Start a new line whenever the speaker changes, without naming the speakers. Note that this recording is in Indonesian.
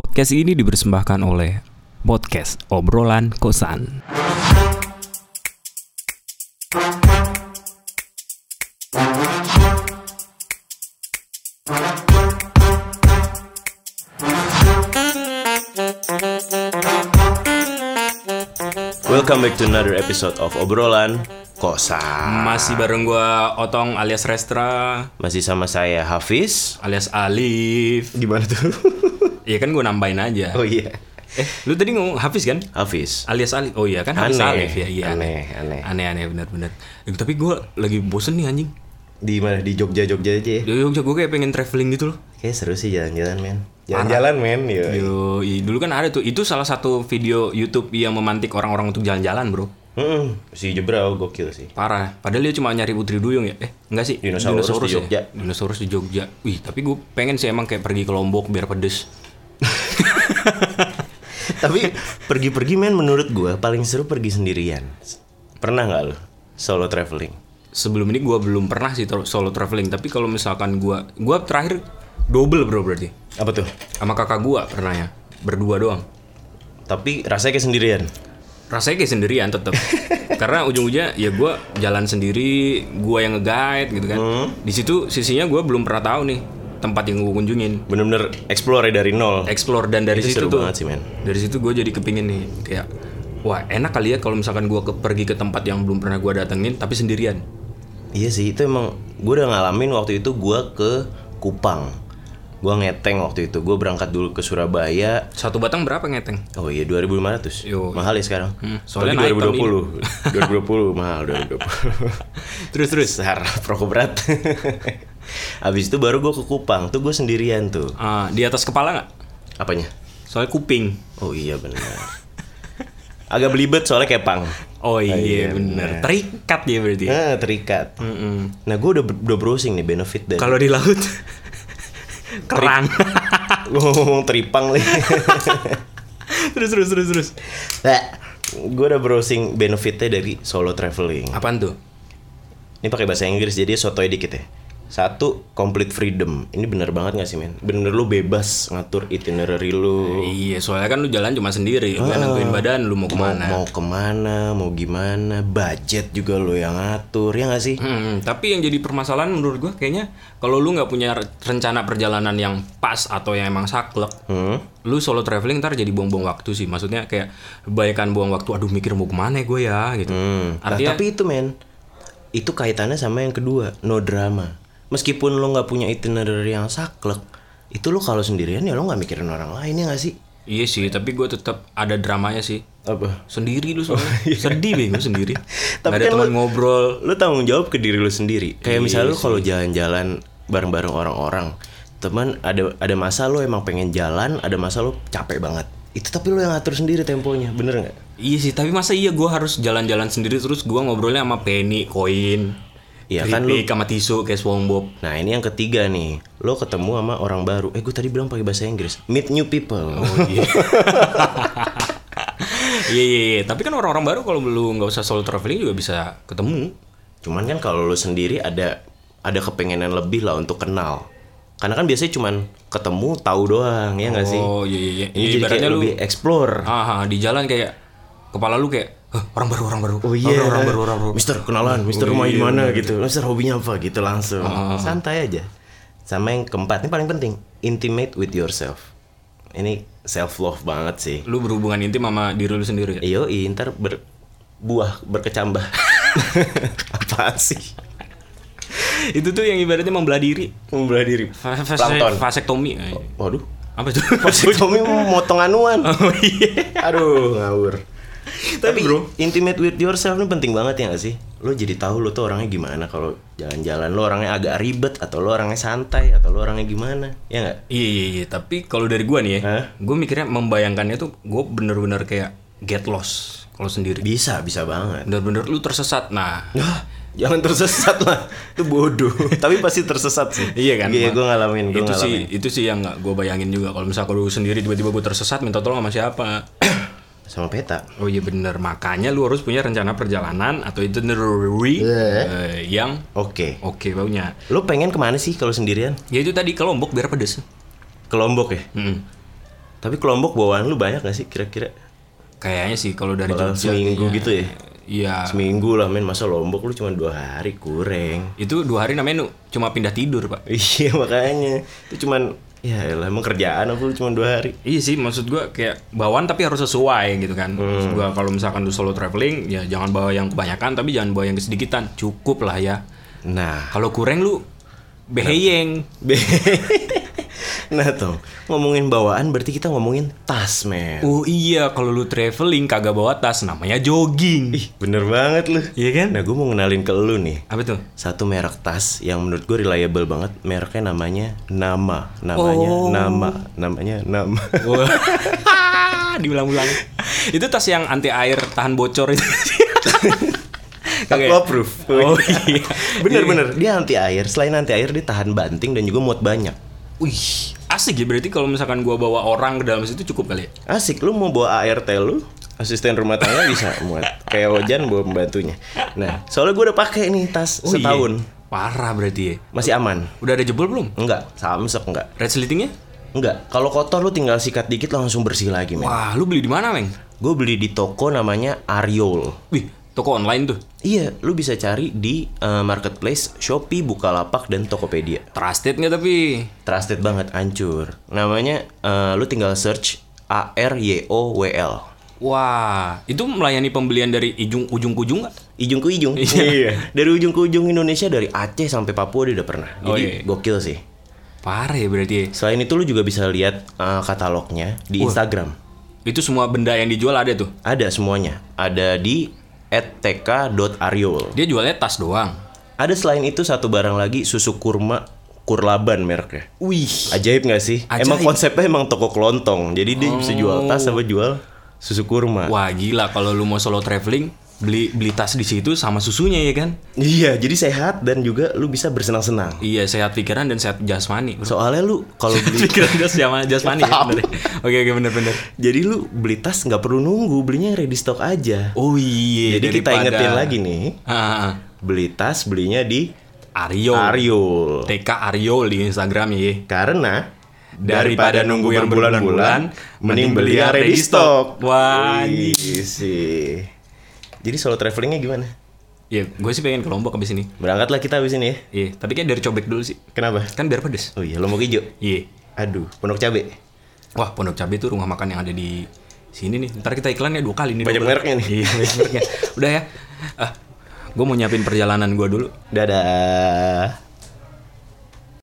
Podcast ini dipersembahkan oleh Podcast Obrolan Kosan.
Welcome back to another episode of obrolan kosan.
Masih bareng gua Otong alias Restra
Masih sama saya Hafiz.
alias Alif.
Gimana tuh?
Iya kan gua nambahin aja.
Oh iya,
Eh, lu tadi ngomong Hafiz kan?
Hafiz.
Alias Alif. Oh iya kan Hafiz
Aneh,
Alif ya. Iya.
aneh, aneh.
Aneh-aneh benar-benar. Eh, tapi gua lagi bosen nih anjing.
Di mana? Di Jogja, Jogja aja. ya?
Dari Jogja gua kayak pengen traveling gitu loh.
Kayaknya seru sih jalan-jalan men. Jalan-jalan men, yo.
Yo, iya, dulu kan ada tuh. Itu salah satu video YouTube yang memantik orang-orang untuk jalan-jalan, Bro.
Mm-mm, si Jebral gokil sih.
Parah. Padahal dia cuma nyari Putri Duyung ya. Eh, enggak sih.
Dinosaurus di
ya?
Jogja.
Dinosaurus di Jogja. Wih, tapi gue pengen sih emang kayak pergi ke Lombok biar pedes.
Tapi pergi-pergi men menurut gua paling seru pergi sendirian. Pernah nggak lo solo traveling?
Sebelum ini gua belum pernah sih tro- solo traveling, tapi kalau misalkan gua gua terakhir double, Bro, berarti.
Apa tuh?
Sama kakak gua pernah ya. Berdua doang.
Tapi rasanya kayak sendirian.
Rasanya kayak sendirian tetap. Karena ujung-ujungnya ya gua jalan sendiri, gua yang nge-guide gitu kan.
Hmm.
Di situ sisinya gua belum pernah tahu nih tempat yang gue kunjungin.
Bener-bener explore dari nol.
explore dan dari
Itu
situ
Hmm. seru
tuh
banget sih, men.
dari situ gue jadi kepingin nih kayak wah enak kali ya kalau misalkan gue ke, pergi ke tempat yang belum pernah gue datengin tapi sendirian
Iya sih itu emang gue udah ngalamin waktu itu gue ke Kupang Gue ngeteng waktu itu Gue berangkat dulu ke Surabaya
satu batang berapa ngeteng
Oh iya 2500
Yo. Hmm,
Mahal ya sekarang
soalnya naik
Tapi
tahun
2020 2020 mahal 2020 Terus terus Harap rokok berat Abis itu baru gue ke Kupang Tuh gue sendirian tuh
Ah, di atas kepala nggak
Apanya?
soalnya kuping
Oh iya benar Agak belibet soalnya kepang
oh iya, bener terikat ya berarti
Nah terikat
Mm-mm.
Nah gue udah, udah browsing nih benefit dari
kalau di laut kerang
Lu ngomong teripang nih
terus terus terus terus
Nah, gue udah browsing benefitnya dari solo traveling.
apaan tuh
Ini pakai bahasa Inggris jadi sotoy dikit ya. Satu, complete freedom. Ini bener banget gak sih men? Bener lu bebas ngatur itinerary lu.
iya soalnya kan lu jalan cuma sendiri lu yang nentuin badan lu mau
Mau,
kemana
mau kemana, mau gimana, budget juga lu yang ngatur, ya gak sih?
Hmm, tapi yang jadi permasalahan menurut gua kayaknya kalau lu nggak punya re- rencana perjalanan yang pas atau yang emang saklek,
Hmm?
lu solo traveling ntar jadi buang-buang waktu sih. Maksudnya kayak kebanyakan buang waktu, aduh mikir mau kemana ya gue ya gitu.
Hmm. Nah,
Artinya-
tapi itu men, itu kaitannya sama yang kedua, no drama. Meskipun lu nggak punya itinerary yang saklek, itu lu kalau sendirian ya lu nggak mikirin orang lain ya gak sih?
Iya sih, tapi gue tetap ada dramanya sih.
Apa?
Sendiri lu soalnya, sedih bego sendiri.
Oh, iya. Tapi
Nggak ada
kan
teman
lu-
ngobrol.
lu tanggung jawab ke diri lu sendiri. Iya Kayak misalnya lu kalau jalan-jalan bareng-bareng orang-orang, teman ada ada masa lu emang pengen jalan, ada masa lu capek banget. Itu tapi lu yang ngatur sendiri temponya, bener nggak?
Iya sih, tapi masa iya gua harus jalan-jalan sendiri terus gua ngobrolnya sama Penny, Koin,
Iya
Iya
kan lu.
sama tisu kayak SpongeBob.
Nah ini yang ketiga nih, lu ketemu sama orang baru. Eh gue tadi bilang pakai bahasa Inggris, meet new people.
Oh, iya. Iya iya iya. Tapi kan orang-orang baru kalau lu nggak usah solo traveling juga bisa ketemu.
Cuman kan kalau lu sendiri ada ada kepengenan lebih lah untuk kenal. Karena kan biasanya cuman ketemu tahu doang ya nggak sih?
Oh iya iya. iya.
Ini jadi kayak
Ibaratnya lu
lebih explore.
aha, di jalan kayak kepala lu kayak "Hah, orang baru orang baru.
Oh iya,
Orang, orang baru orang baru.
Mister kenalan, Mister
Oh,
rumah
iya,
di mana gitu, Mister hobinya apa gitu langsung, santai aja. Sama yang keempat ini paling penting, intimate with yourself. Ini self love banget sih.
Lu berhubungan intim sama diri lu sendiri ya.
Iyo, i, ntar berbuah berkecambah. Apaan sih?
Itu tuh yang ibaratnya membelah diri.
Membelah diri.
Fase-
Plankton. Oh.
Vasektomi. eh.
Waduh.
Apa itu?
Tommy motong anuan.
Oh iya.
Aduh, ngawur.
Tapi, bro,
intimate with yourself ini penting banget ya gak sih? Lo jadi tahu lo tuh orangnya gimana kalau jalan-jalan lo orangnya agak ribet atau lo orangnya santai atau lo orangnya gimana? Ya nggak?
Iya iya iya, tapi kalau dari gua nih ya,
Hah?
gua mikirnya membayangkannya tuh gua bener-bener kayak get lost kalau sendiri.
Bisa, bisa banget.
Bener-bener lu tersesat. Nah,
Hah, Jangan tersesat lah, itu bodoh. Tapi pasti tersesat sih.
Iya kan?
Iya, gue ngalamin, gue
itu
ngalamin.
sih itu sih yang nggak gue bayangin juga kalau misalnya lu sendiri tiba-tiba gue tersesat minta tolong sama siapa
Sama peta.
oh iya bener makanya lu harus punya rencana perjalanan atau itinerary
Iya.
eh, yang
Oke.
oke baunya
Lo pengen kemana sih kalau sendirian?
ya itu tadi ke Lombok biar pedes
Ke Lombok ya?
Mm-mm.
Tapi kelompok bawaan lu banyak gak sih kira-kira?
Kayaknya sih kalau dari
Bakal
Jogja
seminggu
kayaknya.
gitu ya?
Iya.
Seminggu lah men, masa lombok lu cuma dua hari kurang.
Itu dua hari namanya nu- cuma pindah tidur pak.
Iya makanya, itu cuman ya elah emang kerjaan apa lu cuma dua hari.
Iya sih, maksud gua kayak bawaan tapi harus sesuai gitu kan. Maksud gua kalau misalkan lu solo traveling, ya jangan bawa yang kebanyakan tapi jangan bawa yang kesedikitan. Cukup lah ya.
Nah,
Kalau kurang lu beheyeng.
nah tuh ngomongin bawaan berarti kita ngomongin tas men.
Oh iya, kalau lu traveling kagak bawa tas namanya jogging.
Ih bener banget lu.
Iya kan?
Nah gue mau ngenalin ke lu nih
Apa tuh?
satu merek tas yang menurut gue reliable banget mereknya namanya nama namanya nama namanya nama
Diulang-ulang. itu tas yang anti air tahan bocor itu. Kagak ya?
Aku approve.
Oh iya.
bener bener dia anti air selain anti air dia tahan banting dan juga muat banyak
Wih, asik ya berarti kalau misalkan gua bawa orang ke dalam situ cukup kali ya?
asik lu mau bawa ART lu asisten rumah tangga bisa muat kayak Ojan bawa pembantunya nah soalnya gue udah pakai nih tas
Oh, iya.
setahun
Parah berarti ya.
masih aman
Udah ada jebol belum?
enggak samsek enggak
Resletingnya?
enggak kalau kotor lu tinggal sikat dikit langsung bersih lagi men
Wah, lu beli di mana, Meng?
gue beli di toko namanya Ariol
Wih, toko online tuh.
Iya, lu bisa cari di eh, marketplace Shopee, Bukalapak, dan Tokopedia.
Trusted nggak tapi?
Trusted banget, hancur. Namanya, eh, lu tinggal search A R Y O W L.
Wah, itu melayani pembelian dari ujung ujung ke ujung nggak?
Ujung ke ujung. Iya. Dari ujung ke ujung Indonesia, dari Aceh sampai Papua dia udah pernah. Jadi
Oh, iya.
gokil sih.
Parah ya berarti ya.
Selain itu lu juga bisa lihat eh, katalognya di Instagram.
Itu semua benda yang dijual ada tuh.
Ada semuanya. Ada di @tk.ariol.
Dia jualnya tas doang.
Ada selain itu satu barang lagi susu kurma kurlaban mereknya.
Wih.
Ajaib gak sih?
Ajaib. Oh.
Emang konsepnya emang toko kelontong. Jadi dia bisa jual tas sama jual susu kurma.
Wah, gila kalau lu mau solo traveling, beli beli tas di situ sama susunya ya kan?
Iya, jadi sehat dan juga lu bisa bersenang-senang.
Iya, sehat pikiran dan sehat jasmani. bro.
Soalnya lu kalau beli
pikiran jas sama jasmani ya, bener. ya. Oke, oke bener-bener.
jadi lu beli tas nggak perlu nunggu, belinya yang ready stock aja.
Oh iya,
jadi kita
daripada-
ingetin lagi nih,
Ah, ah, ah.
beli tas belinya di
Aryo.
Ariul.
TK Aryo di Instagram ya.
Karena
Daripada nunggu yang berbulan-bulan, mending beli yang ready stock. Wah,
Wih, sih. Jadi solo travelingnya gimana?
Iya, gue sih pengen ke Lombok abis ini.
Berangkatlah kita habis ini ya.
Iya, tapi kayak dari cobek dulu sih.
Kenapa?
Kan biar pedes.
Oh iya, lombok hijau.
Iya.
Aduh, pondok cabe.
Wah, Pondok Cabe itu rumah makan yang ada di sini nih. Ntar kita iklannya dua kali nih. dua
Banyak
kali.
mereknya nih.
Iya, banyak mereknya. Udah ya. Ah, gue mau nyiapin perjalanan gue dulu.
Dadah.